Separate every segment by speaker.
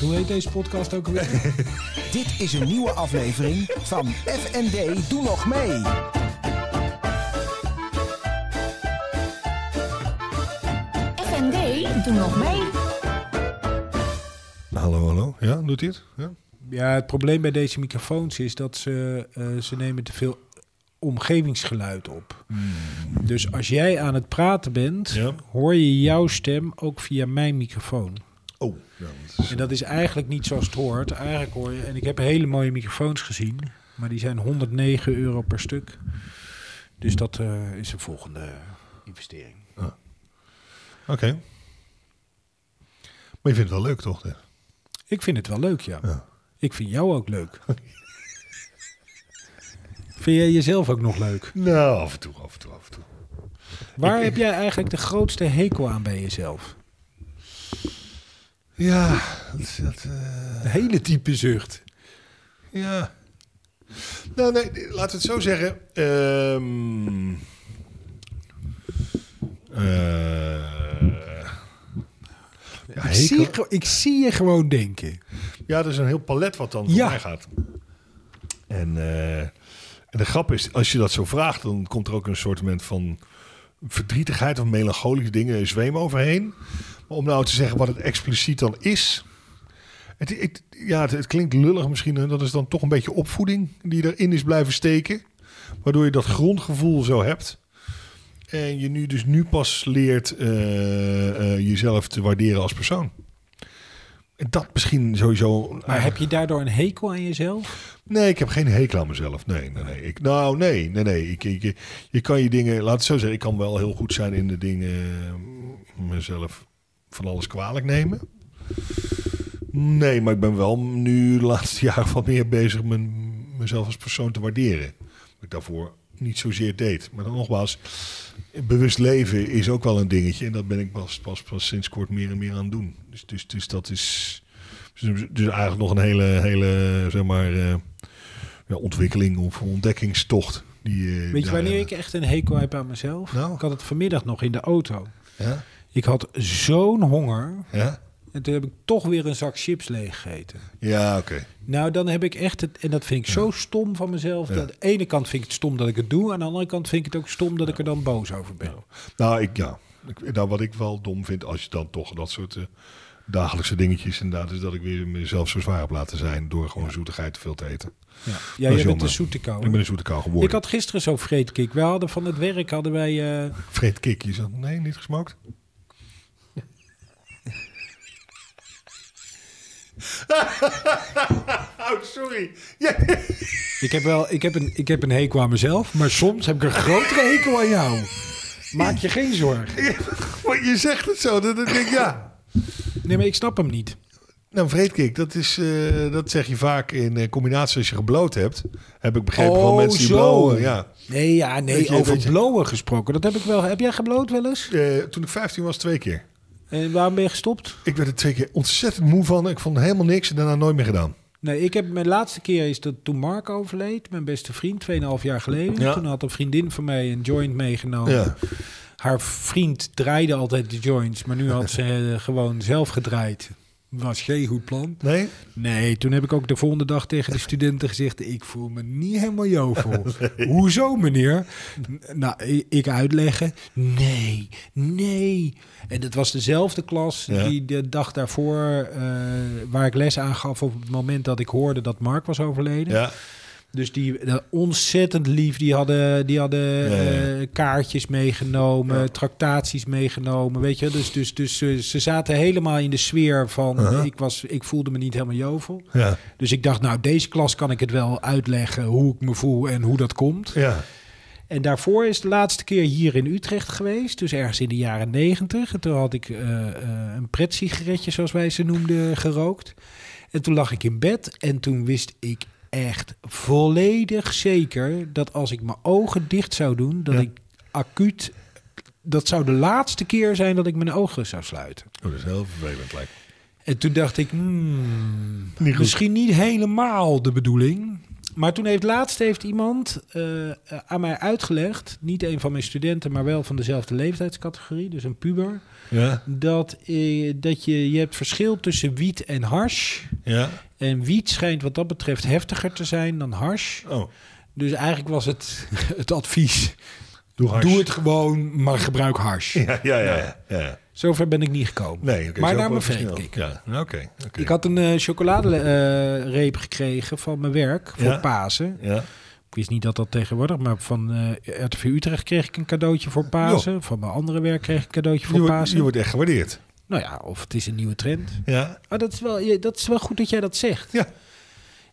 Speaker 1: Hoe heet deze podcast ook alweer?
Speaker 2: Dit is een nieuwe aflevering van FND Doe Nog Mee.
Speaker 3: FND, doe nog mee.
Speaker 4: Nou, hallo, hallo. Ja, doet hij het? Ja.
Speaker 1: ja, het probleem bij deze microfoons is dat ze, eh, ze nemen te veel omgevingsgeluid op. Dus als jij aan het praten bent,
Speaker 4: Ja.
Speaker 1: hoor je jouw stem ook via mijn microfoon.
Speaker 4: Oh. Ja, dat is-
Speaker 1: En dat is eigenlijk niet zoals het hoort. Eigenlijk hoor je, en ik heb hele mooie microfoons gezien, maar die zijn 109 euro per stuk. Dus dat eh, is een volgende investering.
Speaker 4: Oké. Maar je vindt het wel leuk, toch? Dit?
Speaker 1: Ik vind het wel leuk, ja.
Speaker 4: Ja.
Speaker 1: Ik vind jou ook leuk. vind jij jezelf ook nog leuk?
Speaker 4: Nou, af en toe, af en toe, af en toe.
Speaker 1: Waar
Speaker 4: Ik-
Speaker 1: heb jij eigenlijk de grootste hekel aan bij jezelf?
Speaker 4: Ja, dat, is- dat, eh,
Speaker 1: Een hele diepe zucht.
Speaker 4: ja. Nou, nee, laten we het zo zeggen. Ehm eh, ja,
Speaker 1: ik, zie,
Speaker 4: hekel-
Speaker 1: je- ik zie je gewoon denken.
Speaker 4: ja, er is een heel palet wat dan
Speaker 1: Ja.
Speaker 4: voorbij gaat. En, eh, en de grap is, als je dat zo vraagt, dan komt er ook een soort van verdrietigheid of melancholische dingen zweem overheen. Maar om nou te zeggen wat het expliciet dan is. Het, het- ja, het, het klinkt lullig misschien. En dat is dan toch een beetje opvoeding die erin is blijven steken. Waardoor je dat grondgevoel zo hebt. En je nu dus nu pas leert eh, eh, jezelf te waarderen als persoon. En dat misschien sowieso.
Speaker 1: Maar heb je daardoor een hekel aan jezelf?
Speaker 4: Nee, ik heb geen hekel aan mezelf. Nee, nee, nee. Ik, nou, nee, nee, nee. Ik, ik, je kan je dingen, laat het zo zeggen, ik kan wel heel goed zijn in de dingen eh, mezelf van alles kwalijk nemen. Nee, maar ik ben wel nu de laatste jaren wat meer bezig met mezelf als persoon te waarderen. Wat ik daarvoor niet zozeer deed. Maar dan nogmaals, bewust leven is ook wel een dingetje. En dat ben ik pas, pas, pas sinds kort meer en meer aan het doen. Dus, dus, dus dat is... Dus, dus eigenlijk nog een hele, hele zeg maar, eh, ja, ontwikkeling of ontdekkingstocht. Die, eh,
Speaker 1: Weet je
Speaker 4: daar-
Speaker 1: wanneer ik echt een hekel heb aan mezelf?
Speaker 4: Nou?
Speaker 1: Ik had het vanmiddag nog in de auto.
Speaker 4: Ja?
Speaker 1: Ik had zo'n honger.
Speaker 4: Ja?
Speaker 1: En toen heb ik toch weer een zak chips leeggegeten.
Speaker 4: Ja, oké.
Speaker 1: Nou, dan heb ik echt het, en dat vind ik zo stom van mezelf.
Speaker 4: Ja.
Speaker 1: Dat aan de ene kant vind ik het stom dat ik het doe, aan de andere kant vind ik het ook stom dat ik er dan boos over ben.
Speaker 4: Nou, ik, ja. Ik- nou, wat ik wel dom vind als je dan toch dat soort eh, dagelijkse dingetjes inderdaad is dat ik weer mezelf zo zwaar heb laten zijn door gewoon zoetigheid te veel te eten.
Speaker 1: Ja,
Speaker 4: Dat is
Speaker 1: jij bent
Speaker 4: jammer.
Speaker 1: een zoete kou.
Speaker 4: Ik ben een zoete kou geworden.
Speaker 1: Ik had gisteren zo'n vreedkik. We hadden van het werk hadden wij. eh,
Speaker 4: Vreet kikjes. Nee, niet gesmokt. oh, sorry.
Speaker 1: ik, heb wel, ik, heb een, ik heb een hekel aan mezelf, maar soms heb ik een grotere hekel aan jou. Maak je geen zorgen.
Speaker 4: Maar je zegt het zo, dat ik denk ja.
Speaker 1: Nee, maar ik snap hem niet.
Speaker 4: Nou, vreetkik, dat, is, eh, dat zeg je vaak in eh, combinatie als je gebloot hebt. Heb ik begrepen van mensen die blowen. Ja.
Speaker 1: Oh, Nee, ja, nee,
Speaker 4: Weet je-
Speaker 1: over
Speaker 4: weet je-
Speaker 1: blowen gesproken. Dat heb ik wel. Heb jij gebloot wel eens?
Speaker 4: Eh, toen ik 15 was, twee keer.
Speaker 1: En waarom ben je gestopt?
Speaker 4: Ik werd er twee keer ontzettend moe van. Ik vond helemaal niks en daarna nooit meer gedaan.
Speaker 1: Nee, ik heb mijn laatste keer is dat toen Mark overleed, mijn beste vriend, 2,5 jaar geleden.
Speaker 4: Ja.
Speaker 1: Toen had een vriendin van mij een joint meegenomen.
Speaker 4: Ja.
Speaker 1: Haar vriend draaide altijd de joints, maar nu had ze eh, gewoon zelf gedraaid. Was geen goed plan.
Speaker 4: Nee?
Speaker 1: Nee, toen heb ik ook de volgende dag tegen de studenten gezegd: Ik voel me niet helemaal jovel. Hoezo, meneer? N- Nou, i- ik uitleggen: Nee, nee. En dat was dezelfde klas
Speaker 4: Ja.
Speaker 1: die de dag daarvoor, eh, waar ik les aan gaf op het moment dat ik hoorde dat Mark was overleden.
Speaker 4: Ja.
Speaker 1: Dus die eh, ontzettend lief, die hadden, die hadden
Speaker 4: Ja, ja.
Speaker 1: eh, kaartjes meegenomen, tractaties meegenomen, weet je. Dus, dus, dus eh, ze zaten helemaal in de sfeer van,
Speaker 4: Uh-huh.
Speaker 1: ik, was, ik voelde me niet helemaal jovel.
Speaker 4: Ja.
Speaker 1: Dus ik dacht, nou, deze klas kan ik het wel uitleggen hoe ik me voel en hoe dat komt.
Speaker 4: Ja.
Speaker 1: En daarvoor is de laatste keer hier in Utrecht geweest, dus ergens in de jaren negentig. En toen had ik eh, eh, een pretsigaretje, zoals wij ze noemden, gerookt. En toen lag ik in bed en toen wist ik echt volledig zeker dat als ik mijn ogen dicht zou doen, dat
Speaker 4: Ja.
Speaker 1: ik acuut... Dat zou de laatste keer zijn dat ik mijn ogen zou sluiten.
Speaker 4: Oh, dat is heel vervelend lijkt me.
Speaker 1: En toen dacht ik, hmm,
Speaker 4: Niet goed.
Speaker 1: misschien niet helemaal de bedoeling. Maar toen heeft laatst heeft iemand eh, eh, aan mij uitgelegd, niet een van mijn studenten, maar wel van dezelfde leeftijdscategorie, dus een puber,
Speaker 4: Ja,
Speaker 1: dat, eh, dat je, je hebt verschil tussen wiet en hash.
Speaker 4: ja.
Speaker 1: En wiet schijnt wat dat betreft heftiger te zijn dan hash.
Speaker 4: Oh,
Speaker 1: Dus eigenlijk was het het advies,
Speaker 4: doe hard.
Speaker 1: doe het gewoon, maar gebruik hash.
Speaker 4: Ja, ja, ja. ja, ja.
Speaker 1: Zover ben ik niet gekomen.
Speaker 4: Nee, oké.
Speaker 1: Maar
Speaker 4: zo
Speaker 1: naar mijn
Speaker 4: professioneel.
Speaker 1: vreemdkik.
Speaker 4: Ja, oké. oké.
Speaker 1: Ik had een eh chocoladereep gekregen van mijn werk voor
Speaker 4: Ja.
Speaker 1: Pasen.
Speaker 4: Ja,
Speaker 1: Ik wist niet dat dat tegenwoordig, maar van eh RTV Utrecht kreeg ik een cadeautje voor Pasen. Van mijn andere werk kreeg ik een cadeautje voor
Speaker 4: je, wordt,
Speaker 1: Pasen.
Speaker 4: je wordt echt gewaardeerd.
Speaker 1: Nou ja, of het is een nieuwe trend.
Speaker 4: Ja,
Speaker 1: Maar dat is wel, je- dat is wel goed dat jij dat zegt.
Speaker 4: Ja.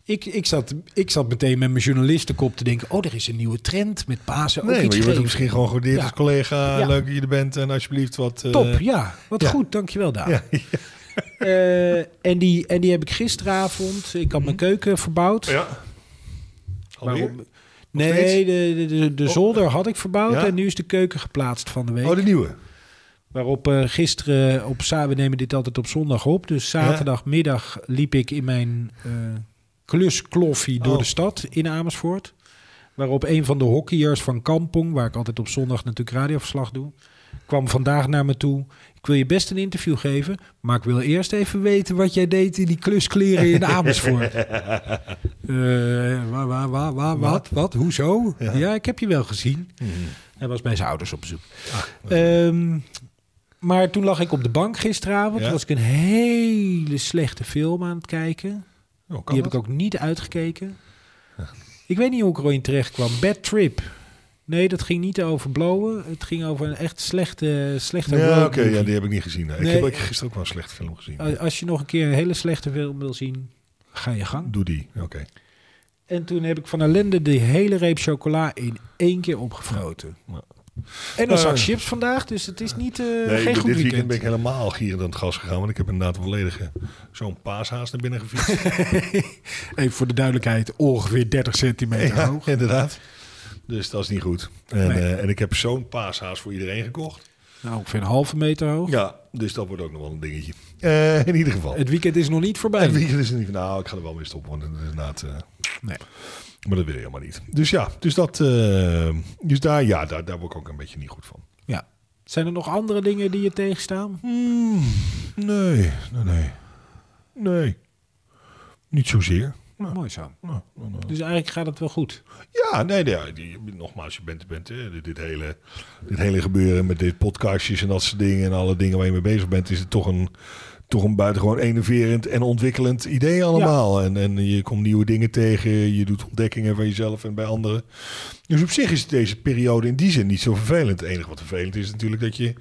Speaker 1: Ik, ik, zat, ik zat meteen met mijn journalistenkop te denken... oh, er is een nieuwe trend met Pasen.
Speaker 4: nee,
Speaker 1: ook
Speaker 4: maar
Speaker 1: iets
Speaker 4: je wordt
Speaker 1: geven.
Speaker 4: ook misschien gewoon gewaardeerd
Speaker 1: Ja.
Speaker 4: als collega.
Speaker 1: Ja.
Speaker 4: Leuk dat je er bent en alsjeblieft wat... eh,
Speaker 1: Top, ja. Wat
Speaker 4: ja.
Speaker 1: goed, dankjewel Daan.
Speaker 4: Ja,
Speaker 1: Eh, en, die, en die heb ik gisteravond... ik had mijn
Speaker 4: Mhm.
Speaker 1: keuken verbouwd.
Speaker 4: ja. Alweer?
Speaker 1: Waarom- Nee, de, de, de, de
Speaker 4: Oh.
Speaker 1: zolder had ik verbouwd
Speaker 4: Ja.
Speaker 1: en nu is de keuken geplaatst van de week.
Speaker 4: Oh, de nieuwe.
Speaker 1: Waarop eh, gisteren, op, za- we nemen dit altijd op zondag op, dus zaterdagmiddag liep ik in mijn eh kluskloffie door
Speaker 4: Oh.
Speaker 1: de stad in Amersfoort. Waarop een van de hockeyers van Kampong, waar ik altijd op zondag natuurlijk radioverslag doe, kwam vandaag naar me toe. Ik wil je best een interview geven, maar ik wil eerst even weten wat jij deed in die kluskleren in Amersfoort. Eh, waar, waar, waar, waar, wat, wat, hoezo? Ja.
Speaker 4: Ja.
Speaker 1: ik heb je wel gezien.
Speaker 4: Mhm.
Speaker 1: Hij was bij zijn ouders op bezoek.
Speaker 4: Ah,
Speaker 1: Ehm, maar toen lag ik op de bank gisteravond.
Speaker 4: Ja.
Speaker 1: Toen was ik een hele slechte film aan het kijken.
Speaker 4: Oh, kan
Speaker 1: Die heb
Speaker 4: dat?
Speaker 1: ik ook niet uitgekeken. Ik weet niet hoe ik er ooit terecht kwam. Bad Trip. Nee, dat ging niet over blowen. Het ging over een echt slechte, slechte
Speaker 4: Ja,
Speaker 1: road
Speaker 4: oké,
Speaker 1: movie.
Speaker 4: ja, die heb ik niet gezien. nee.
Speaker 1: Nee. Oh,
Speaker 4: Ik heb ook gisteren ook wel een slechte film gezien.
Speaker 1: A- Als je nog een keer een hele slechte film wil zien, ga je gang.
Speaker 4: Doe die, oké.
Speaker 1: Eh, En toen heb ik van ellende de hele reep chocola in één keer opgefroten.
Speaker 4: Ja.
Speaker 1: En dan
Speaker 4: Eh.
Speaker 1: zag chips vandaag, dus het is niet, eh, geen
Speaker 4: Nee, dit
Speaker 1: goed
Speaker 4: weekend,
Speaker 1: weekend.
Speaker 4: ben ik helemaal gierend aan het gas gegaan. Want ik heb inderdaad volledig eh, zo'n paashaas naar binnen gefietst.
Speaker 1: Even voor de duidelijkheid, ongeveer 30 centimeter
Speaker 4: Ja,
Speaker 1: hoog.
Speaker 4: inderdaad. Dus dat is niet goed. En,
Speaker 1: Nee.
Speaker 4: eh, en ik heb zo'n paashaas voor iedereen gekocht.
Speaker 1: Nou, ongeveer een halve meter hoog.
Speaker 4: Ja, dus dat wordt ook nog wel een dingetje. Eh, in ieder geval.
Speaker 1: Het weekend is nog niet voorbij.
Speaker 4: En weekend is het niet van, nou, ik ga er wel mee stoppen. Want het is inderdaad, eh,
Speaker 1: Nee.
Speaker 4: maar dat wil je helemaal niet. Dus ja, dus, dat, eh, dus daar, ja, daar, daar word ik ook een beetje niet goed van.
Speaker 1: Ja. Zijn er nog andere dingen die je tegenstaan?
Speaker 4: Hmm, nee, nee, nee. Nee. Niet zozeer. Nou,
Speaker 1: Mooi zo.
Speaker 4: nou, nou, nou.
Speaker 1: Dus eigenlijk gaat het wel goed.
Speaker 4: Ja, nee, nee ja, die- nogmaals, je bent, je bent eh, dit, dit hele, dit hele gebeuren met dit podcastjes en dat soort dingen en alle dingen waar je mee bezig bent, is het toch een, toch een buitengewoon enerverend en ontwikkelend idee allemaal. En, en je komt nieuwe dingen tegen, je doet ontdekkingen van jezelf en bij anderen. Dus op zich is deze periode in die zin niet zo vervelend. Het enige wat vervelend is natuurlijk dat je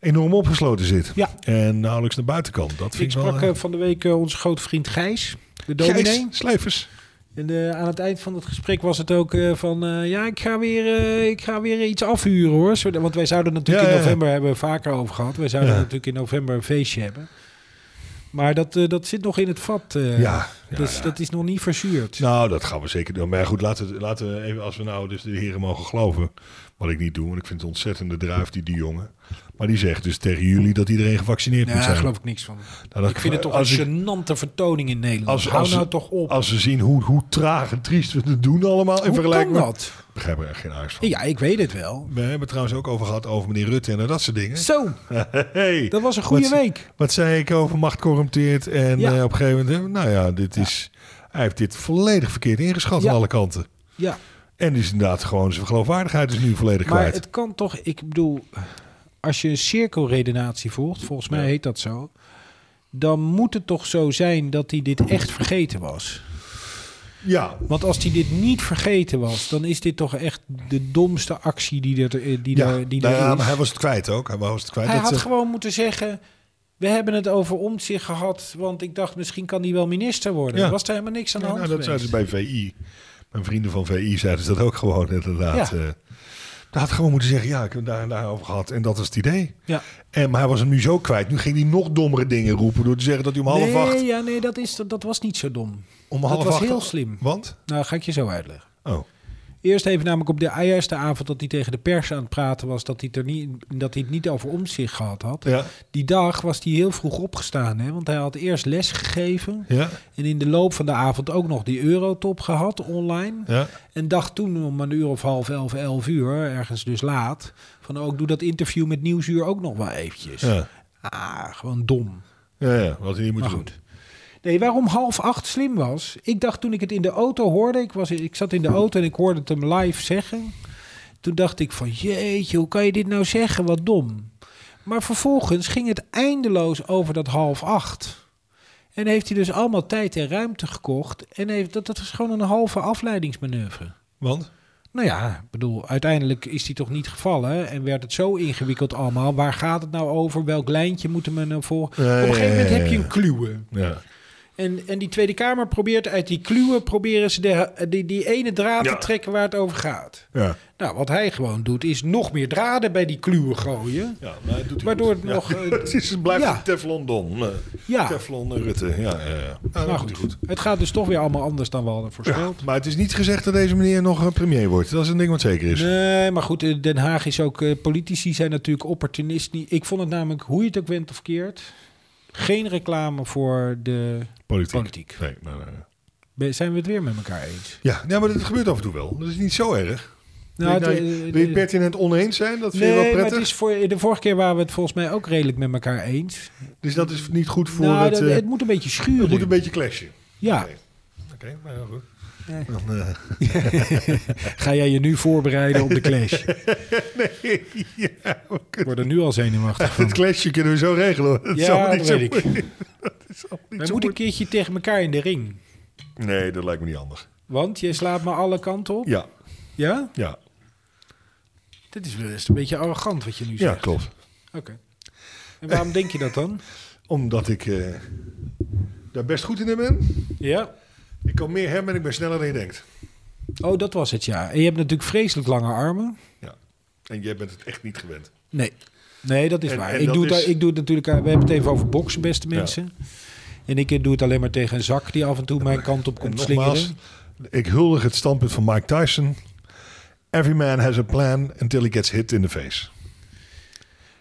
Speaker 4: enorm opgesloten zit.
Speaker 1: Ja.
Speaker 4: En nauwelijks naar buiten kan. Dat vind
Speaker 1: Ik
Speaker 4: ik,
Speaker 1: sprak
Speaker 4: wel...
Speaker 1: eh, van de week eh, onze grote vriend Gijs, de
Speaker 4: Gijs
Speaker 1: dominee.
Speaker 4: Slijvers.
Speaker 1: En eh, aan het eind van het gesprek was het ook eh, van... eh, ja, ik ga, weer, eh, ik ga weer iets afhuren hoor. Zodat- want wij zouden natuurlijk
Speaker 4: Ja,
Speaker 1: in
Speaker 4: ja, ja.
Speaker 1: november... hebben we vaker over gehad. Wij zouden
Speaker 4: Ja.
Speaker 1: natuurlijk in november een feestje hebben. Maar dat, eh, dat zit nog in het vat. eh.
Speaker 4: ja. ja,
Speaker 1: dus
Speaker 4: ja.
Speaker 1: dat is nog niet verzuurd.
Speaker 4: Nou, dat gaan we zeker doen. Maar goed, laten, we- laten we even, als we nou dus de heren mogen geloven. Wat ik niet doe, want ik vind het een ontzettende druif die die jongen. Maar die zegt dus tegen jullie dat iedereen gevaccineerd
Speaker 1: Nee,
Speaker 4: moet
Speaker 1: daar
Speaker 4: zijn.
Speaker 1: geloof ik niks van.
Speaker 4: Nou, dat-
Speaker 1: Ik vind het toch
Speaker 4: als ik-
Speaker 1: een gênante vertoning in Nederland.
Speaker 4: Als-
Speaker 1: Hou
Speaker 4: als-
Speaker 1: nou toch op.
Speaker 4: Als ze zien hoe, hoe traag en triest we het doen allemaal. In
Speaker 1: Hoe kan
Speaker 4: vergelijking met...
Speaker 1: dat?
Speaker 4: Ik begrijp er echt geen aars van.
Speaker 1: Ja, ik weet het wel.
Speaker 4: We hebben het trouwens ook over gehad over meneer Rutte en dat soort dingen.
Speaker 1: Zo,
Speaker 4: Hey,
Speaker 1: dat was een goede
Speaker 4: Wat ze-
Speaker 1: week.
Speaker 4: Wat zei ik over macht corrumpeert en
Speaker 1: Ja.
Speaker 4: eh, op een gegeven moment... Nou ja, dit is, hij heeft dit volledig verkeerd ingeschat
Speaker 1: Ja.
Speaker 4: aan alle kanten.
Speaker 1: Ja,
Speaker 4: En dus inderdaad gewoon zijn geloofwaardigheid is nu volledig
Speaker 1: maar
Speaker 4: kwijt.
Speaker 1: het kan toch... Ik bedoel, als je een cirkelredenatie volgt, volgens mij
Speaker 4: Ja.
Speaker 1: heet dat zo... dan moet het toch zo zijn dat hij dit echt vergeten was.
Speaker 4: Ja,
Speaker 1: Want als hij dit niet vergeten was... dan is dit toch echt de domste actie die er, eh, die
Speaker 4: ja.
Speaker 1: er, die
Speaker 4: Nou
Speaker 1: er
Speaker 4: ja,
Speaker 1: is.
Speaker 4: maar hij was het kwijt ook. Hij was het kwijt.
Speaker 1: Hij
Speaker 4: dat,
Speaker 1: had
Speaker 4: eh,
Speaker 1: gewoon moeten zeggen... We hebben het over omzicht gehad, want ik dacht misschien kan hij wel minister worden.
Speaker 4: Ja.
Speaker 1: Was er helemaal niks aan de
Speaker 4: ja,
Speaker 1: hand
Speaker 4: nou, dat
Speaker 1: geweest.
Speaker 4: zeiden ze bij VI. Mijn vrienden van VI zeiden ze dat ook gewoon inderdaad.
Speaker 1: Ja.
Speaker 4: eh hij had gewoon moeten zeggen, ja, ik heb het daar en daar over gehad. En dat was het idee.
Speaker 1: Ja.
Speaker 4: En, maar hij was hem nu zo kwijt. Nu ging hij nog dommere dingen roepen door te zeggen dat hij om half
Speaker 1: nee,
Speaker 4: acht...
Speaker 1: ja, nee dat, is, dat, dat was niet zo dom.
Speaker 4: Om
Speaker 1: Dat
Speaker 4: half
Speaker 1: was
Speaker 4: acht-
Speaker 1: heel slim.
Speaker 4: Want?
Speaker 1: Nou, ga ik je zo uitleggen.
Speaker 4: Oh,
Speaker 1: Eerst even namelijk op de eerste avond dat hij tegen de pers aan het praten was... dat hij, het er niet, dat hij het niet over omzicht gehad had.
Speaker 4: Ja,
Speaker 1: Die dag was hij heel vroeg opgestaan, hè? want hij had eerst les gegeven...
Speaker 4: ja,
Speaker 1: en in de loop van de avond ook nog die eurotop gehad online...
Speaker 4: ja.
Speaker 1: En dacht toen om een uur of half elf, elf uur, ergens dus laat... van ook doe dat interview met Nieuwsuur ook nog wel eventjes.
Speaker 4: Ja,
Speaker 1: Ah, gewoon dom.
Speaker 4: ja, ja wat hij niet moet
Speaker 1: Maar
Speaker 4: doen.
Speaker 1: goed. Nee, waarom half acht slim was? Ik dacht toen ik het in de auto hoorde, ik, was, ik zat in de auto en ik hoorde het hem live zeggen. Toen dacht ik van, jeetje, hoe kan je dit nou zeggen? Wat dom. Maar vervolgens ging het eindeloos over dat half acht. En heeft hij dus allemaal tijd en ruimte gekocht. En heeft, dat, dat is gewoon een halve afleidingsmanoeuvre.
Speaker 4: Want?
Speaker 1: Nou ja, ik bedoel, uiteindelijk is die toch niet gevallen en werd het zo ingewikkeld allemaal. Waar gaat het nou over? Welk lijntje moeten we nou volgen?
Speaker 4: Ja,
Speaker 1: Op een gegeven
Speaker 4: ja,
Speaker 1: moment
Speaker 4: ja,
Speaker 1: heb je
Speaker 4: ja.
Speaker 1: een kluwe.
Speaker 4: Ja.
Speaker 1: En, en die Tweede Kamer probeert uit die kluwen proberen ze de, die, die ene draad
Speaker 4: Ja.
Speaker 1: te trekken waar het over gaat.
Speaker 4: Ja.
Speaker 1: Nou, wat hij gewoon doet, is nog meer draden bij die kluwen gooien.
Speaker 4: ja maar het doet hij
Speaker 1: Waardoor
Speaker 4: goed.
Speaker 1: het nog,
Speaker 4: Ja.
Speaker 1: eh,
Speaker 4: het is- het blijft
Speaker 1: ja.
Speaker 4: een Teflon Don. eh,
Speaker 1: Ja,
Speaker 4: Teflon Rutte. Ja, ja, ja. Nou,
Speaker 1: maar
Speaker 4: dat doet hij
Speaker 1: goed. Het gaat dus toch weer allemaal anders dan we hadden voorspeld.
Speaker 4: Maar het is niet gezegd dat deze meneer nog eh, premier wordt. Dat is een ding wat zeker is.
Speaker 1: Nee, maar goed, eh, Den Haag is ook... eh, Politici zijn natuurlijk opportunisten. Ik vond het namelijk, hoe je het ook went of keert... geen reclame voor de
Speaker 4: Politiek.
Speaker 1: politiek.
Speaker 4: Nee, nee, nee.
Speaker 1: Ben- Zijn we het weer met elkaar eens?
Speaker 4: Ja, nee, maar dat gebeurt af en toe wel. Dat is niet zo erg.
Speaker 1: Nou,
Speaker 4: Wil je
Speaker 1: het,
Speaker 4: nou-
Speaker 1: eh,
Speaker 4: wil je het
Speaker 1: eh,
Speaker 4: pertinent oneens zijn? Dat vind je wel
Speaker 1: Nee, maar
Speaker 4: prettig.
Speaker 1: het is voor, de vorige keer waren we het volgens mij ook redelijk met elkaar eens.
Speaker 4: Dus dat is niet goed voor
Speaker 1: nou,
Speaker 4: het...
Speaker 1: dat-
Speaker 4: eh,
Speaker 1: het moet een beetje
Speaker 4: het
Speaker 1: schuren.
Speaker 4: moet een beetje clashen.
Speaker 1: Ja,
Speaker 4: Oké, Oké, maar ja, goed.
Speaker 1: Nee.
Speaker 4: Dan, eh,
Speaker 1: ga jij je nu voorbereiden op de clash?
Speaker 4: ja, we
Speaker 1: Ik
Speaker 4: kunnen-
Speaker 1: word er nu al zenuwachtig van.
Speaker 4: het clashje kunnen we zo regelen. hoor. Het zal
Speaker 1: Ja,
Speaker 4: niet
Speaker 1: dat
Speaker 4: zo
Speaker 1: weet ik.
Speaker 4: moeilijk- dat is al niet
Speaker 1: Wij
Speaker 4: zo
Speaker 1: moeten een keertje tegen elkaar in de ring.
Speaker 4: moeilijk. Nee, dat lijkt me niet handig.
Speaker 1: Want jij slaat me alle kanten op.
Speaker 4: Ja,
Speaker 1: Ja?
Speaker 4: ja,
Speaker 1: Dit is wel eens een beetje arrogant wat je nu
Speaker 4: ja
Speaker 1: zegt.
Speaker 4: klopt.
Speaker 1: Oké. En waarom denk je dat dan?
Speaker 4: Omdat ik eh, daar best goed in ben.
Speaker 1: Ja.
Speaker 4: Ik kan meer hebben en ik ben sneller dan je denkt.
Speaker 1: Oh, dat was het, ja. En je hebt natuurlijk vreselijk lange armen.
Speaker 4: Ja. En jij bent het echt niet gewend.
Speaker 1: Nee. Nee, dat is
Speaker 4: En-
Speaker 1: waar.
Speaker 4: en
Speaker 1: ik,
Speaker 4: dat
Speaker 1: doe het,
Speaker 4: is-
Speaker 1: ik doe het natuurlijk... aan- We hebben het even over boksen, beste mensen. En ik eh, doe het alleen maar tegen een zak die af en toe mijn kant op
Speaker 4: En
Speaker 1: komt
Speaker 4: nogmaals,
Speaker 1: slingeren.
Speaker 4: ik huldig het standpunt van Mike Tyson. Every man has a plan until he gets hit in the face.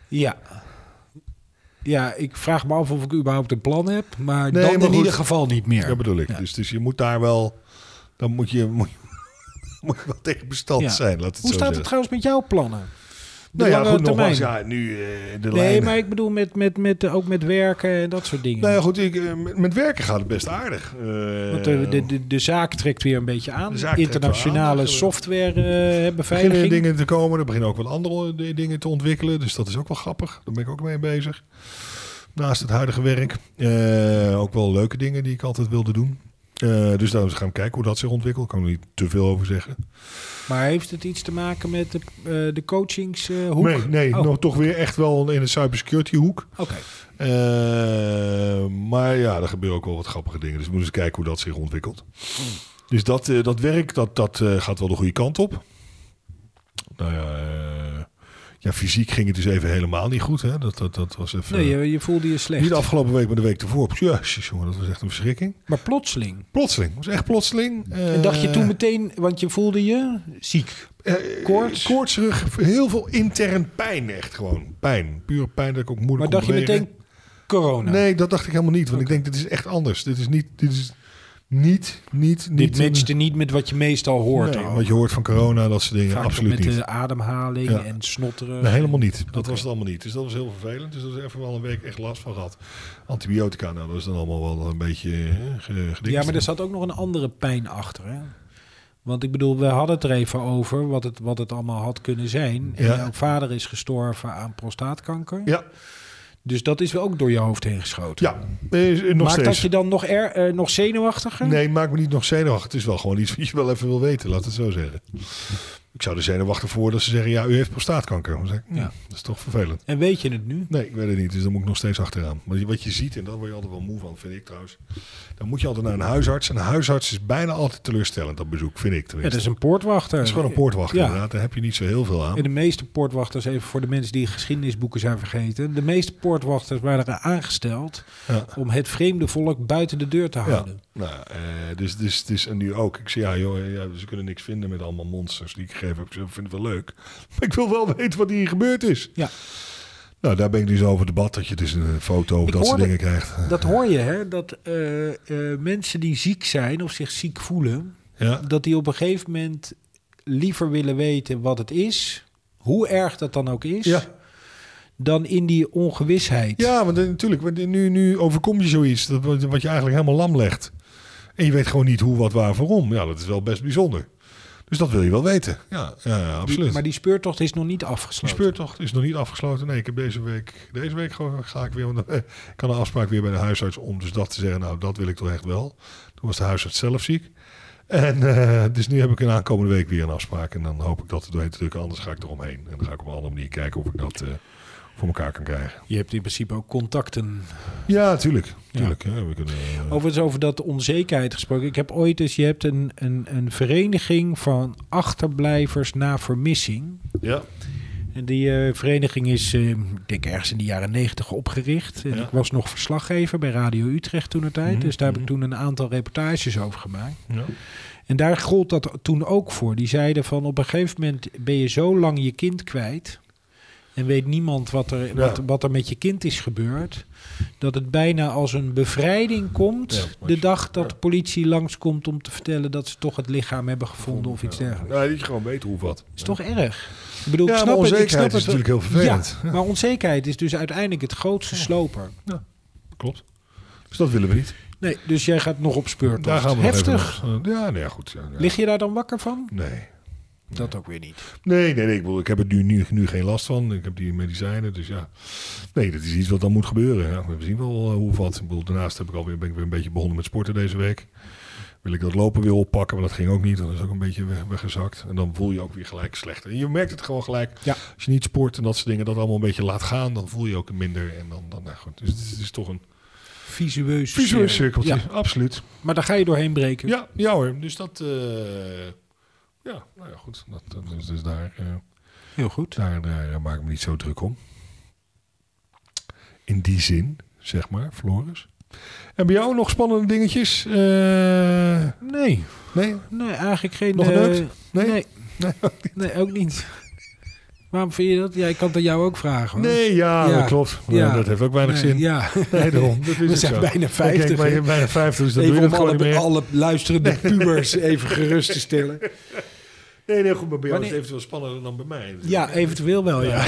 Speaker 1: Ja. Ja, ik vraag me af of ik überhaupt een plan heb. Maar
Speaker 4: Nee,
Speaker 1: dan
Speaker 4: maar
Speaker 1: in
Speaker 4: goed.
Speaker 1: ieder geval niet meer.
Speaker 4: Dat bedoel ik. Dus, dus je moet daar wel... Dan moet je, moet, je- moet je wel tegen bestand
Speaker 1: Ja.
Speaker 4: zijn. Laat het
Speaker 1: Hoe
Speaker 4: zo
Speaker 1: staat het
Speaker 4: zeggen.
Speaker 1: trouwens met jouw plannen? De
Speaker 4: Nou ja,
Speaker 1: lange
Speaker 4: goed,
Speaker 1: termijn.
Speaker 4: nogmaals. Ja, nu eh, de
Speaker 1: Nee,
Speaker 4: lijnen.
Speaker 1: maar ik bedoel met, met, met, eh, ook met werken en dat soort dingen.
Speaker 4: Nou ja, goed. Ik, eh, met, met werken gaat het best aardig. Eh,
Speaker 1: Want de, de, de, de zaak trekt weer een beetje aan.
Speaker 4: De zaak trekt
Speaker 1: Internationale
Speaker 4: wel aan.
Speaker 1: software eh
Speaker 4: beginnen
Speaker 1: beveiliging.
Speaker 4: dingen te komen. Er beginnen ook wat andere eh, dingen te ontwikkelen. Dus dat is ook wel grappig. Daar ben ik ook mee bezig. Naast het huidige werk. Eh, ook wel leuke dingen die ik altijd wilde doen. Eh, dus daarom gaan we kijken hoe dat zich ontwikkelt. Ik kan er niet te veel over zeggen.
Speaker 1: Maar heeft het iets te maken met de, eh, de coachingshoek?
Speaker 4: Nee, nee
Speaker 1: Oh,
Speaker 4: nog toch weer echt wel in de cybersecurity hoek.
Speaker 1: Oké.
Speaker 4: Eh, maar ja, er gebeuren ook wel wat grappige dingen. Dus we moeten eens kijken hoe dat zich ontwikkelt. Dus dat, eh, dat werk, dat, dat eh, gaat wel de goede kant op. Nou ja, eh, ja, fysiek ging het dus even helemaal niet goed. Hè? Dat, dat, dat was even...
Speaker 1: Nee, je, je voelde je slecht.
Speaker 4: niet de afgelopen week, maar de week ervoor. Jezus, jongen, dat was echt een verschrikking.
Speaker 1: Maar plotseling.
Speaker 4: Plotseling, was echt plotseling. Eh,
Speaker 1: En dacht je toen meteen, want je voelde je ziek.
Speaker 4: eh,
Speaker 1: koorts?
Speaker 4: Koortserig, heel veel intern pijn echt gewoon. Pijn, pure pijn dat ik ook moeilijk
Speaker 1: Maar
Speaker 4: kon
Speaker 1: dacht je
Speaker 4: bewegen.
Speaker 1: meteen corona?
Speaker 4: Nee, dat dacht ik helemaal niet. Want ik denk, dit is echt anders. Dit is niet, dit is niet, niet, niet. eh,
Speaker 1: Dit matchte niet met wat je meestal hoort.
Speaker 4: Nee,
Speaker 1: al.
Speaker 4: wat je hoort van corona, dat soort dingen,
Speaker 1: Vaak
Speaker 4: absoluut
Speaker 1: ook met
Speaker 4: niet.
Speaker 1: de ademhaling
Speaker 4: Ja.
Speaker 1: en snotteren.
Speaker 4: Nee, helemaal niet. Dat
Speaker 1: Oké.
Speaker 4: was het allemaal niet. Dus dat was heel vervelend. Dus dat is even wel een week echt last van gehad. Antibiotica, nou, dat is dan allemaal wel een beetje eh, ge- gedikt.
Speaker 1: Ja, maar er zat ook nog een andere pijn achter. Hè? Want ik bedoel, we hadden het er even over wat het, wat het allemaal had kunnen zijn. En
Speaker 4: Ja.
Speaker 1: jouw vader is gestorven aan prostaatkanker.
Speaker 4: Ja,
Speaker 1: Dus dat is wel ook door je hoofd heen geschoten.
Speaker 4: ja. Eh, is- eh, nog
Speaker 1: Maakt
Speaker 4: steeds.
Speaker 1: dat je dan nog, er, eh, nog zenuwachtiger?
Speaker 4: Nee, maak me niet nog zenuwachtig. Het is wel gewoon iets wat je wel even wil weten, laat het zo zeggen. Ik zou er zenuwachtig voor worden dat ze zeggen, ja, u heeft prostaatkanker. Dan zeg ik, hm,
Speaker 1: Ja.
Speaker 4: dat is toch vervelend.
Speaker 1: En weet je het nu?
Speaker 4: Nee, ik weet het niet. Dus dan moet ik nog steeds achteraan. Maar je- wat je ziet, en daar word je altijd wel moe van, vind ik trouwens. Dan moet je altijd naar een huisarts. En een huisarts is bijna altijd teleurstellend op bezoek, vind ik
Speaker 1: Ja,
Speaker 4: tenminste.
Speaker 1: dat is een poortwachter.
Speaker 4: Het is gewoon een poortwachter,
Speaker 1: Ja.
Speaker 4: inderdaad. Daar heb je niet zo heel veel aan.
Speaker 1: En de meeste poortwachters, even voor de mensen die geschiedenisboeken zijn vergeten, de meeste poortwachters waren aangesteld
Speaker 4: Ja.
Speaker 1: om het vreemde volk buiten de deur te
Speaker 4: Ja,
Speaker 1: houden.
Speaker 4: nou, eh, dus, dus, dus en nu ook. Ik zei, ja joh, eh, ja, ze kunnen niks vinden met allemaal monsters die ik gegeven heb. Ik zei, vind het wel leuk. Maar ik wil wel weten wat hier gebeurd is.
Speaker 1: Ja.
Speaker 4: Nou, daar ben ik dus over debat. Dat je dus een foto of
Speaker 1: Ik
Speaker 4: dat soort
Speaker 1: hoorde-
Speaker 4: dingen krijgt.
Speaker 1: Dat hoor je, hè? Dat eh, eh, mensen die ziek zijn of zich ziek voelen,
Speaker 4: Ja,
Speaker 1: dat die op een gegeven moment liever willen weten wat het is, hoe erg dat dan ook is,
Speaker 4: Ja.
Speaker 1: dan in die ongewisheid.
Speaker 4: ja want eh, natuurlijk, want nu, nu overkom je zoiets dat, wat wat je eigenlijk helemaal lam legt. En je weet gewoon niet hoe, wat, waar, waarom. Ja, dat is wel best bijzonder. Dus dat wil je wel weten. Ja, ja, ja,
Speaker 1: Die-
Speaker 4: absoluut.
Speaker 1: maar die speurtocht is nog niet
Speaker 4: Die
Speaker 1: afgesloten.
Speaker 4: speurtocht is nog niet afgesloten. Nee, ik heb deze week, deze week ga, ga ik weer, want eh, ik kan een afspraak weer bij de huisarts om dus dat te zeggen. Nou, dat wil ik toch echt wel. Toen was de huisarts zelf ziek. En eh, dus nu heb ik een aankomende week weer een afspraak. En dan hoop ik dat er doorheen te drukken. Anders ga ik eromheen. En dan ga ik op een andere manier kijken of ik dat eh, voor elkaar kan krijgen.
Speaker 1: Je hebt in principe ook contacten.
Speaker 4: Ja, tuurlijk. tuurlijk hè, we kunnen, eh,
Speaker 1: Overigens over dat onzekerheid gesproken. Ik heb ooit eens, je hebt een, een, een vereniging van achterblijvers na vermissing.
Speaker 4: ja.
Speaker 1: En die eh, vereniging is, eh, ik denk ergens in de jaren negentig opgericht. En
Speaker 4: Ja.
Speaker 1: ik was nog verslaggever bij Radio Utrecht toen tijd.
Speaker 4: Mhm,
Speaker 1: Dus daar heb ik
Speaker 4: mhm.
Speaker 1: toen een aantal reportages over gemaakt.
Speaker 4: ja.
Speaker 1: En daar gold dat toen ook voor. Die zeiden van op een gegeven moment ben je zo lang je kind kwijt. En weet niemand wat er, wat, wat er met je kind is gebeurd. Dat het bijna als een bevrijding komt.
Speaker 4: Ja, maar
Speaker 1: de
Speaker 4: je-
Speaker 1: dag dat
Speaker 4: ja.
Speaker 1: de politie langskomt om te vertellen dat ze toch het lichaam hebben gevonden of iets dergelijks.
Speaker 4: Ja, dat je gewoon weet hoe of wat.
Speaker 1: Is toch erg? Ik bedoel,
Speaker 4: ja,
Speaker 1: ik
Speaker 4: maar
Speaker 1: snap het. Ik snap
Speaker 4: onzekerheid
Speaker 1: het
Speaker 4: is
Speaker 1: wel.
Speaker 4: natuurlijk heel vervelend.
Speaker 1: Ja, maar onzekerheid is dus uiteindelijk het grootste sloper.
Speaker 4: Klopt. Dus dat willen we niet.
Speaker 1: Nee, dus jij gaat nog op speurtocht.
Speaker 4: Daar gaan we nog
Speaker 1: Heftig.
Speaker 4: even- eh, ja, nee, ja, goed. Ja, ja.
Speaker 1: Lig je daar dan wakker van?
Speaker 4: Nee.
Speaker 1: Dat ook weer niet.
Speaker 4: Nee, nee, nee. Ik, bedoel, ik heb er nu, nu, nu geen last van. Ik heb die medicijnen, dus ja. Nee, dat is iets wat dan moet gebeuren. Ja, we zien wel eh, hoe of wat. Ik bedoel, daarnaast heb ik alweer, ben ik weer een beetje begonnen met sporten deze week. Wil ik dat lopen weer oppakken, maar dat ging ook niet. Dat is ook een beetje weg- weggezakt. En dan voel je ook weer gelijk slechter. En je merkt het gewoon gelijk.
Speaker 1: Ja.
Speaker 4: Als je niet sport en dat soort dingen, dat allemaal een beetje laat gaan, dan voel je ook minder. En dan, dan nou goed. Dus het is, het is toch een
Speaker 1: Visueus.
Speaker 4: visueel
Speaker 1: eh,
Speaker 4: cirkeltje.
Speaker 1: ja.
Speaker 4: Absoluut.
Speaker 1: Maar daar ga je doorheen breken.
Speaker 4: Ja, ja hoor. Dus dat, eh, ja, nou ja, goed. Dat, dat is dus daar. eh,
Speaker 1: Heel goed.
Speaker 4: Daar, eh, daar, daar maak ik me niet zo druk om. In die zin, zeg maar, Floris. En bij jou nog spannende dingetjes? Eh,
Speaker 1: Nee,
Speaker 4: nee?
Speaker 1: nee eigenlijk geen...
Speaker 4: Nog
Speaker 1: eh,
Speaker 4: geneukt? Nee?
Speaker 1: nee. Nee, ook niet. Waarom vind je dat? Ja, ik kan het aan jou ook vragen. hoor.
Speaker 4: Oh. Nee, ja,
Speaker 1: Ja.
Speaker 4: dat klopt. Ja,
Speaker 1: Ja.
Speaker 4: Dat heeft ook weinig
Speaker 1: Nee,
Speaker 4: zin.
Speaker 1: Ja.
Speaker 4: Nee, daarom. Dat is
Speaker 1: We
Speaker 4: het
Speaker 1: zijn
Speaker 4: zo.
Speaker 1: bijna
Speaker 4: Kijk,
Speaker 1: 50.
Speaker 4: maar je
Speaker 1: hè.
Speaker 4: bent bijna 50, dus dat doe
Speaker 1: Even
Speaker 4: je
Speaker 1: om
Speaker 4: dat gewoon niet
Speaker 1: alle,
Speaker 4: meer.
Speaker 1: alle luisterende pubers even gerust te stellen.
Speaker 4: Nee, nee, goed, maar bij jou is
Speaker 1: Wanneer-
Speaker 4: het eventueel spannender dan bij mij.
Speaker 1: Ja, eventueel wel, ja.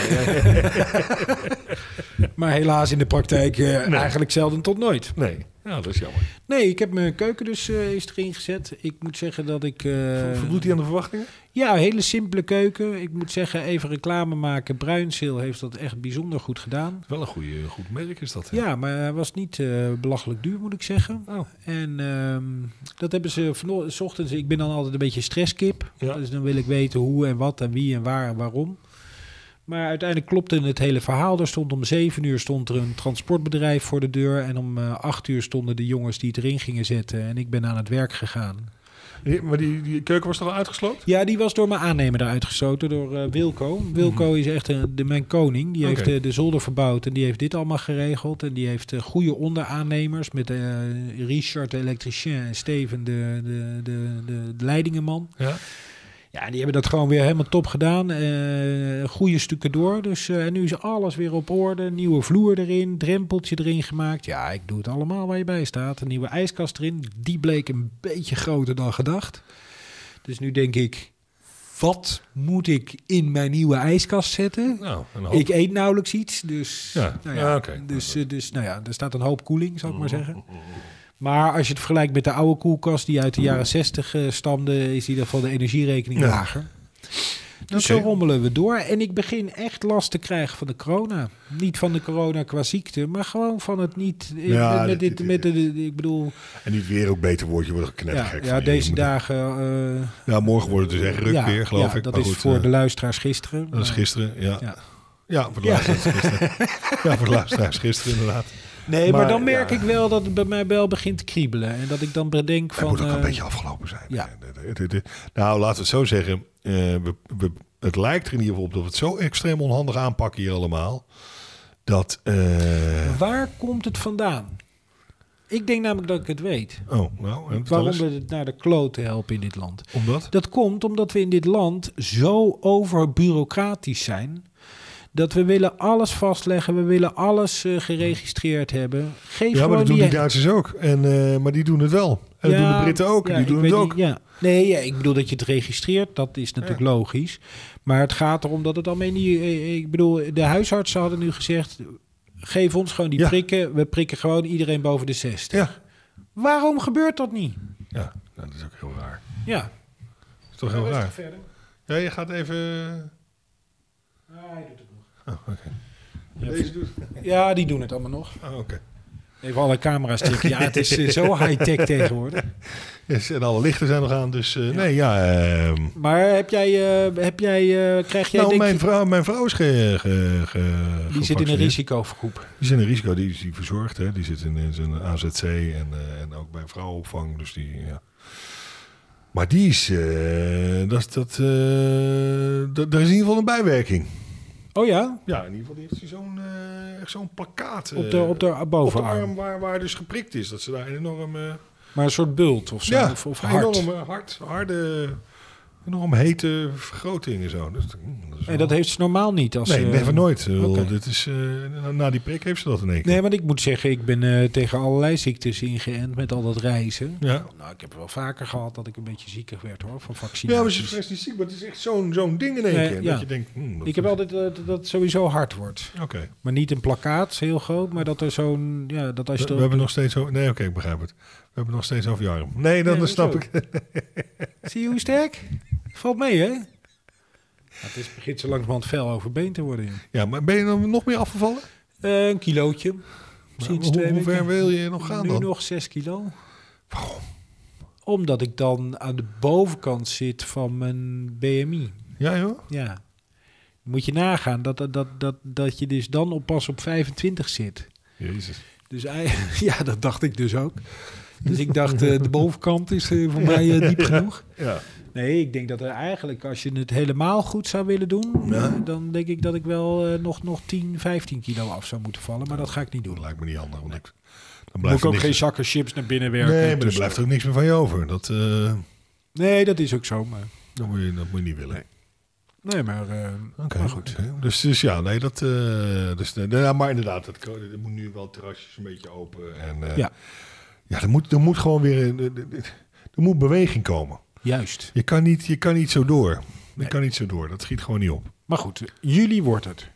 Speaker 1: maar helaas in de praktijk eh, eigenlijk zelden tot nooit.
Speaker 4: Nee, ja, dat is jammer.
Speaker 1: Nee, ik heb mijn keuken dus eh is erin gezet. Ik moet zeggen dat ik... eh,
Speaker 4: Voldoet hij aan de verwachtingen?
Speaker 1: Ja, een hele simpele keuken. Ik moet zeggen, even reclame maken. Bruinzeel heeft dat echt bijzonder goed gedaan.
Speaker 4: Wel een goede, goed merk is dat. hè?
Speaker 1: Ja, maar hij was niet eh, belachelijk duur, moet ik zeggen.
Speaker 4: Oh.
Speaker 1: En ehm, dat hebben ze vanochtend. 's ochtends- Ik ben dan altijd een beetje stresskip.
Speaker 4: Ja.
Speaker 1: Dus dan wil ik weten hoe en wat en wie en waar en waarom. Maar uiteindelijk klopte het hele verhaal. Er stond om 7 uur stond er een transportbedrijf voor de deur. En om eh, 8 uur stonden de jongens die het erin gingen zetten. En ik ben aan het werk gegaan.
Speaker 4: Die- Maar die, die keuken was toch al uitgesloopt?
Speaker 1: Ja, die was door mijn aannemer eruit gestoten, door eh, Wilco. Wilco is echt een, de, mijn koning. Die
Speaker 4: Oké.
Speaker 1: heeft eh, de zolder verbouwd en die heeft dit allemaal geregeld. En die heeft eh, goede onderaannemers met eh, Richard, de elektricien, en Steven, de, de, de, de, de leidingenman.
Speaker 4: Ja.
Speaker 1: Ja, die hebben dat gewoon weer helemaal top gedaan. Eh, goede stukken door. Dus eh, en nu is alles weer op orde. Nieuwe vloer erin, drempeltje erin gemaakt. Ja, ik doe het allemaal waar je bij staat. Een nieuwe ijskast erin. Die bleek een beetje groter dan gedacht. Dus nu denk ik, wat moet ik in mijn nieuwe ijskast zetten?
Speaker 4: Nou, een hoop.
Speaker 1: Ik eet nauwelijks iets, dus,
Speaker 4: Ja,
Speaker 1: nou
Speaker 4: ja, oké. Mm-hmm.
Speaker 1: dus, eh, dus nou ja, er staat een hoop koeling, zou ik maar zeggen. Maar als je het vergelijkt met de oude koelkast die uit de jaren 60 eh, stamde, is in ieder geval de energierekening
Speaker 4: Mm-hmm. Ja.
Speaker 1: lager. Dus
Speaker 4: Oké.
Speaker 1: zo rommelen we door. En ik begin echt last te krijgen van de corona. Niet van de corona qua ziekte, maar gewoon van het niet. eh,
Speaker 4: Ja,
Speaker 1: met,
Speaker 4: dit-
Speaker 1: dit,
Speaker 4: dit-
Speaker 1: met de, de- ik bedoel,
Speaker 4: En niet weer ook beter wordt. Je wordt ook
Speaker 1: ja,
Speaker 4: knettergek.
Speaker 1: ja,
Speaker 4: van je. Je
Speaker 1: deze
Speaker 4: moet-
Speaker 1: dagen. eh,
Speaker 4: Ja, morgen wordt het dus echt ruk
Speaker 1: ja,
Speaker 4: weer, geloof
Speaker 1: ja,
Speaker 4: ik.
Speaker 1: Dat
Speaker 4: Maar
Speaker 1: is
Speaker 4: goed,
Speaker 1: voor
Speaker 4: eh,
Speaker 1: de luisteraars gisteren.
Speaker 4: Dat is
Speaker 1: maar-
Speaker 4: gisteren, ja.
Speaker 1: Ja.
Speaker 4: Ja, voor de luisteraars gisteren. ja, voor de luisteraars gisteren inderdaad.
Speaker 1: Nee, maar,
Speaker 4: Maar,
Speaker 1: dan merk
Speaker 4: ja.
Speaker 1: ik wel dat het bij mij wel begint te kriebelen. En dat ik dan bedenk
Speaker 4: Het
Speaker 1: van...
Speaker 4: moet ook een
Speaker 1: eh,
Speaker 4: beetje afgelopen zijn.
Speaker 1: ja.
Speaker 4: Eh, het- het- het- Nou, laten we het zo zeggen. Eh, we, we- het lijkt er in ieder geval op dat we het zo extreem onhandig aanpakken hier allemaal. Dat. eh,
Speaker 1: Waar komt het vandaan? Ik denk namelijk dat ik het weet.
Speaker 4: oh, nou, en vertel
Speaker 1: Waarom
Speaker 4: eens.
Speaker 1: we het naar de kloten helpen in dit land.
Speaker 4: Omdat?
Speaker 1: Dat komt omdat we in dit land zo overbureaucratisch zijn. Dat we willen alles vastleggen. We willen alles eh, geregistreerd hebben. Geef
Speaker 4: Ja, maar
Speaker 1: gewoon
Speaker 4: dat doen
Speaker 1: die-
Speaker 4: die Duitsers ook. En, eh, maar die doen het wel. En dat Eh, doen de Britten ook. En
Speaker 1: ja,
Speaker 4: die
Speaker 1: ik
Speaker 4: doen
Speaker 1: weet
Speaker 4: het ook.
Speaker 1: niet, ja. Nee, ja, ik bedoel dat je het registreert, dat is natuurlijk logisch. Maar het gaat erom dat het allemaal niet... eh, Ik bedoel, de huisartsen hadden nu gezegd... geef ons gewoon die
Speaker 4: Ja.
Speaker 1: prikken. We prikken gewoon iedereen boven de 60.
Speaker 4: Ja.
Speaker 1: Waarom gebeurt dat niet?
Speaker 4: ja, nou, dat is ook heel raar.
Speaker 1: Ja.
Speaker 4: Dat is toch heel raar. Ja, je gaat even. Oh,
Speaker 1: Ja,
Speaker 4: Deze doen.
Speaker 1: Ja, die doen het allemaal nog.
Speaker 4: Ah, oké.
Speaker 1: Even alle camera's checken. Ja, het is eh, zo high-tech tegenwoordig.
Speaker 4: Yes, en alle lichten zijn nog aan, dus eh, nee, ja. ehm.
Speaker 1: Maar heb jij... eh, heb jij eh, krijg jij...
Speaker 4: nou,
Speaker 1: denk
Speaker 4: mijn
Speaker 1: je-
Speaker 4: vrouw, mijn vrouw is ge, ge, ge-
Speaker 1: die zit in een
Speaker 4: gevaccineerd.
Speaker 1: risicogroep.
Speaker 4: Die zit in een risico, die is die verzorgd. Hè? Die zit in, in zijn AZC en, eh, en ook bij vrouwenopvang. Dus die, ja. Maar die is, eh, dat, dat, eh, dat, er is in ieder geval een bijwerking.
Speaker 1: Oh ja?
Speaker 4: Ja, in ieder geval die heeft die zo'n eh, echt zo'n plakkaat eh,
Speaker 1: Op de, op de
Speaker 4: op de
Speaker 1: bovenarm.
Speaker 4: arm waar, waar dus geprikt is. Dat ze daar een enorm... eh,
Speaker 1: Maar een soort bult of zo.
Speaker 4: Ja,
Speaker 1: of, of
Speaker 4: een
Speaker 1: hard.
Speaker 4: enorm eh, hard, harde, enorm hete vergroting en zo. Dus, mm, dat is
Speaker 1: En
Speaker 4: wel-
Speaker 1: dat heeft ze normaal niet. Als eh,
Speaker 4: Nee,
Speaker 1: ze-
Speaker 4: never nooit. Ik bedoel,
Speaker 1: oké.
Speaker 4: Dit is, eh, na- na die prik heeft ze dat in één keer.
Speaker 1: Nee, want ik moet zeggen, ik ben eh, tegen allerlei ziektes ingeënt met al dat reizen.
Speaker 4: Ja.
Speaker 1: Nou, ik heb wel vaker gehad dat ik een beetje zieker werd hoor, van
Speaker 4: ja, maar
Speaker 1: vaccinaties.
Speaker 4: ze is best niet ziek, maar het is echt zo'n zo'n ding in één
Speaker 1: Nee,
Speaker 4: keer.
Speaker 1: ja.
Speaker 4: Dat je denkt, mm, dat
Speaker 1: ik heb
Speaker 4: is-
Speaker 1: altijd eh, dat, dat het sowieso hard wordt.
Speaker 4: Oké,
Speaker 1: Maar niet een plakkaat, heel groot, maar dat er zo'n... Ja, dat als je
Speaker 4: we, we
Speaker 1: dat-
Speaker 4: hebben nog steeds... over- Nee, oké, ik begrijp het. We hebben nog steeds over je arm. Nee, dat
Speaker 1: Nee,
Speaker 4: dat snap
Speaker 1: hoezo?
Speaker 4: ik.
Speaker 1: Zie je hoe sterk? Valt mee, hè? Nou, het is, begint zo langzamerhand fel overbeen te worden. joh.
Speaker 4: Ja, maar ben je dan nog meer afgevallen?
Speaker 1: Eh, een kilootje.
Speaker 4: Maar
Speaker 1: Sinds
Speaker 4: hoe,
Speaker 1: twee
Speaker 4: hoe
Speaker 1: weken.
Speaker 4: ver wil je nog gaan
Speaker 1: nu
Speaker 4: dan?
Speaker 1: nog 6 kilo. Waarom? Omdat ik dan aan de bovenkant zit van mijn BMI.
Speaker 4: Ja, joh.
Speaker 1: Ja. Moet je nagaan dat, dat- dat, dat, dat je dus dan op pas op 25 zit.
Speaker 4: Jezus.
Speaker 1: Dus ei- ja, dat dacht ik dus ook. Dus ik dacht, eh, de bovenkant is eh, voor mij eh, diep genoeg.
Speaker 4: Ja.
Speaker 1: Nee, ik denk dat er eigenlijk, als je het helemaal goed zou willen doen,
Speaker 4: Ja.
Speaker 1: eh, dan denk ik dat ik wel eh, nog, nog 10, 15 kilo af zou moeten vallen. Maar dat ga ik niet doen.
Speaker 4: Dat lijkt me niet handig, want ik... Dan
Speaker 1: Moet
Speaker 4: blijft
Speaker 1: ik
Speaker 4: er
Speaker 1: ook
Speaker 4: niks-
Speaker 1: geen zakken chips naar binnen werken.
Speaker 4: Nee, maar er
Speaker 1: Dus-
Speaker 4: blijft ook niks meer van je over. Dat, eh,
Speaker 1: Nee, dat is ook zo. Maar,
Speaker 4: dat, moet, je, dat moet je niet willen.
Speaker 1: nee, maar, eh,
Speaker 4: Oké,
Speaker 1: maar
Speaker 4: goed.
Speaker 1: goed.
Speaker 4: Dus, dus ja, nee, dat. eh, dus, eh, nou ja, maar inderdaad, het, ko- er moet nu wel terrasjes een beetje open. En, eh,
Speaker 1: Ja.
Speaker 4: Ja, er moet, er moet gewoon weer. een- Er er moet beweging komen.
Speaker 1: Juist.
Speaker 4: Je kan niet, je kan niet zo door. Je
Speaker 1: Nee.
Speaker 4: kan niet zo door. Dat schiet gewoon niet op.
Speaker 1: Maar goed, jullie wordt het.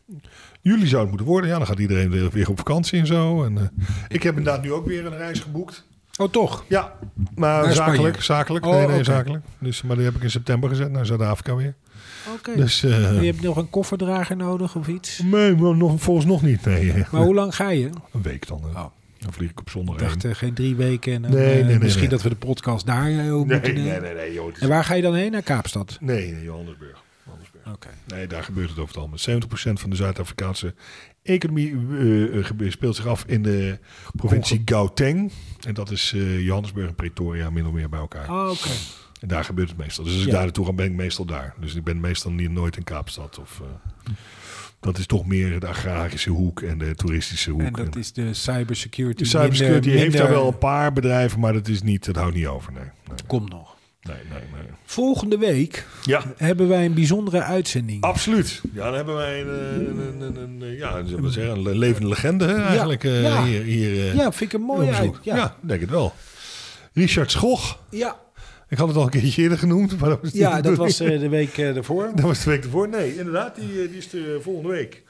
Speaker 4: Jullie zou het moeten worden. Ja, dan gaat iedereen weer, weer op vakantie en zo. En, eh, ik heb inderdaad nu ook weer een reis geboekt.
Speaker 1: Oh, toch?
Speaker 4: Ja, maar
Speaker 1: Naar
Speaker 4: zakelijk.
Speaker 1: Spanje.
Speaker 4: zakelijk.
Speaker 1: Oh,
Speaker 4: nee, nee,
Speaker 1: oké.
Speaker 4: zakelijk. Dus, maar die heb ik in september gezet naar Zuid-Afrika weer.
Speaker 1: Oké.
Speaker 4: Dus. eh
Speaker 1: Je hebt nog een kofferdrager nodig of iets.
Speaker 4: Nee, maar nog, volgens nog niet. Nee, eh,
Speaker 1: Maar hoe lang ga je?
Speaker 4: een week dan. eh. Dan vlieg ik op zondag
Speaker 1: Ik
Speaker 4: heen.
Speaker 1: dacht eh, geen drie weken. En, dan,
Speaker 4: Nee,
Speaker 1: eh,
Speaker 4: nee, nee,
Speaker 1: misschien
Speaker 4: nee.
Speaker 1: dat we de podcast daar eh, ook moeten nemen.
Speaker 4: nee, joh, het
Speaker 1: En waar ga je dan heen? Naar Kaapstad?
Speaker 4: Nee, nee, Johannesburg. Johannesburg.
Speaker 1: Oké.
Speaker 4: Nee, daar gebeurt het over het algemeen. 70% van de Zuid-Afrikaanse economie eh, eh, gebe- speelt zich af in de provincie Gauteng. En dat is eh, Johannesburg en Pretoria min of meer bij elkaar.
Speaker 1: Ah, Oké.
Speaker 4: En daar gebeurt het meestal. Dus als ik
Speaker 1: Ja.
Speaker 4: daar naartoe ga, ben ik meestal daar. Dus ik ben meestal niet, nooit in Kaapstad. Of, eh, dat is toch meer de agrarische hoek en de toeristische hoek.
Speaker 1: En dat
Speaker 4: En
Speaker 1: is de cybersecurity.
Speaker 4: de cybersecurity
Speaker 1: minder-
Speaker 4: heeft daar
Speaker 1: minder-
Speaker 4: wel een paar bedrijven, maar dat, is niet, dat houdt niet over. Nee,
Speaker 1: Kom nog.
Speaker 4: nee, nee. nee, nee.
Speaker 1: Volgende week
Speaker 4: Ja,
Speaker 1: hebben wij een bijzondere uitzending.
Speaker 4: Oh. Absoluut. Ja, dan hebben wij een, eh, een, een, een, een, eh, ja, zullen we zeggen, een le- levende legende hè, eigenlijk eh,
Speaker 1: ja.
Speaker 4: hier, hier eh,
Speaker 1: ja, vind ik een
Speaker 4: op
Speaker 1: mooie
Speaker 4: bezoek.
Speaker 1: uit.
Speaker 4: Ja.
Speaker 1: Ja. Ja.
Speaker 4: denk het wel. Richard Schoch.
Speaker 1: Ja.
Speaker 4: Ik had het al een keertje eerder genoemd, maar dat was niet de
Speaker 1: dat
Speaker 4: bedoeling.
Speaker 1: was eh, de week eh, daarvoor.
Speaker 4: Dat was de week ervoor. Nee, inderdaad, die, eh, die is er eh, volgende week.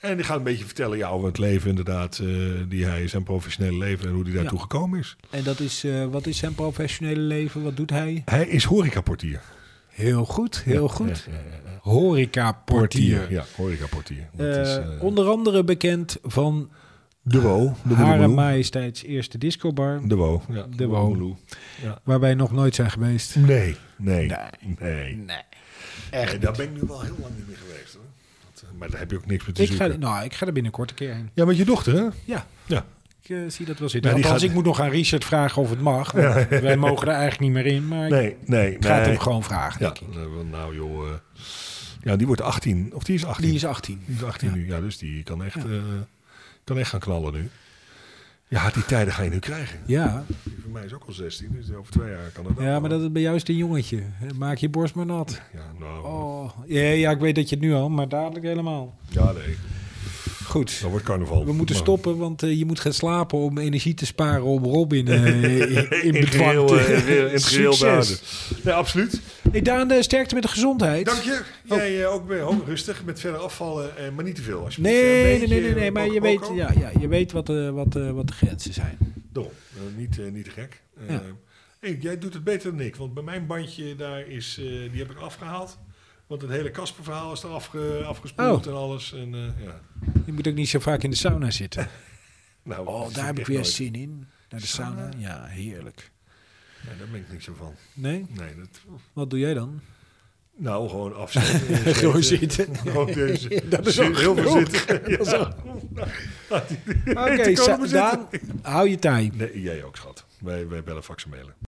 Speaker 4: En die gaat een beetje vertellen ja, over het leven inderdaad, eh, die hij, zijn professionele leven en hoe hij daartoe
Speaker 1: Ja.
Speaker 4: gekomen is.
Speaker 1: En dat is, eh, wat is zijn professionele leven? Wat doet hij?
Speaker 4: Hij is horecaportier.
Speaker 1: Heel goed, heel
Speaker 4: Ja,
Speaker 1: goed.
Speaker 4: ja, ja, ja.
Speaker 1: Horeca-portier.
Speaker 4: Ja, horecaportier. Dat
Speaker 1: Eh,
Speaker 4: is, eh,
Speaker 1: onder andere bekend van
Speaker 4: de Wo. De
Speaker 1: Hare
Speaker 4: Woedeloe.
Speaker 1: Majesteits Eerste Discobar,
Speaker 4: De Wo. Ja,
Speaker 1: De Wo.
Speaker 4: Woedeloe.
Speaker 1: waar wij nog nooit zijn geweest.
Speaker 4: Nee, nee, nee. nee.
Speaker 1: Echt
Speaker 4: daar ben ik nu wel heel lang niet meer geweest. Hoor. Dat, eh, maar daar heb je ook niks meer te
Speaker 1: Ik ga,
Speaker 4: zoeken.
Speaker 1: nou, ik ga er binnenkort een keer heen.
Speaker 4: Ja, met je dochter, hè?
Speaker 1: Ja,
Speaker 4: Ja.
Speaker 1: ik eh, zie dat wel zitten.
Speaker 4: Ja, die
Speaker 1: Althans,
Speaker 4: gaat-
Speaker 1: ik moet nog aan Richard vragen of het mag. want Wij mogen er eigenlijk niet meer in, maar
Speaker 4: Nee, nee,
Speaker 1: ik ga het
Speaker 4: nee.
Speaker 1: hem gewoon vragen.
Speaker 4: Ja,
Speaker 1: denk ik.
Speaker 4: eh, nou joh. eh, ja, die wordt 18. Of die is 18.
Speaker 1: Die is 18.
Speaker 4: Die is 18 nu. Ja, dus die kan echt, eh, kan echt gaan knallen nu. Ja, die tijden ga je nu krijgen.
Speaker 1: Ja,
Speaker 4: Die van mij is ook al 16, dus over twee jaar kan dat ook
Speaker 1: ja maar
Speaker 4: wel.
Speaker 1: dat is bij jou is het een jongetje. Maak je borst maar nat.
Speaker 4: Ja, nou,
Speaker 1: Oh. Ja, ja, ik weet dat je het nu al, maar dadelijk helemaal.
Speaker 4: ja, nee.
Speaker 1: Goed.
Speaker 4: Dat wordt carnaval.
Speaker 1: We moeten
Speaker 4: Maar-
Speaker 1: stoppen, want eh, je moet gaan slapen om energie te sparen om Robin eh, in
Speaker 4: In het
Speaker 1: bedwang
Speaker 4: geheel,
Speaker 1: te
Speaker 4: eh, weer- in het geheel te
Speaker 1: Succes.
Speaker 4: houden. Ja, absoluut.
Speaker 1: Hey, Daan, eh, sterkte met de gezondheid.
Speaker 4: Dank je.
Speaker 1: Oh.
Speaker 4: Jij eh, ook weer ho- rustig met verder afvallen, eh, maar niet te veel. alsjeblieft.
Speaker 1: Nee,
Speaker 4: Eh,
Speaker 1: nee,
Speaker 4: een
Speaker 1: nee,
Speaker 4: beetje,
Speaker 1: nee, nee,
Speaker 4: eh,
Speaker 1: maar je
Speaker 4: boko-
Speaker 1: weet,
Speaker 4: boko.
Speaker 1: ja, ja, je weet wat, eh, wat, eh, wat de grenzen zijn.
Speaker 4: Daarom. Eh, niet, eh, niet te gek. Eh,
Speaker 1: Ja.
Speaker 4: hey, jij doet het beter dan ik, want bij mijn bandje daar is, eh, die heb ik afgehaald. Want het hele Kasper-verhaal is er afge, afgespoeld
Speaker 1: Oh.
Speaker 4: en alles. En, eh, ja.
Speaker 1: Je moet ook niet zo vaak in de sauna zitten.
Speaker 4: nou, dat
Speaker 1: Oh,
Speaker 4: is
Speaker 1: daar heb ik
Speaker 4: echt
Speaker 1: weer
Speaker 4: nooit.
Speaker 1: zin in. Naar de sauna?
Speaker 4: Sauna?
Speaker 1: Ja, heerlijk.
Speaker 4: Nee, daar ben ik niks zo van.
Speaker 1: Nee?
Speaker 4: Nee, dat,
Speaker 1: Wat doe jij dan?
Speaker 4: nou, gewoon afzetten.
Speaker 1: Gewoon zitten.
Speaker 4: Gewoon deze.
Speaker 1: Dat is ook
Speaker 4: heel veel
Speaker 1: genoeg.
Speaker 4: zitten. Ja.
Speaker 1: Oké,
Speaker 4: Ik kan
Speaker 1: Sa-
Speaker 4: er maar zitten.
Speaker 1: Daan, hou je taai.
Speaker 4: Nee, jij ook, schat. Wij, wij bellen faxen mailen.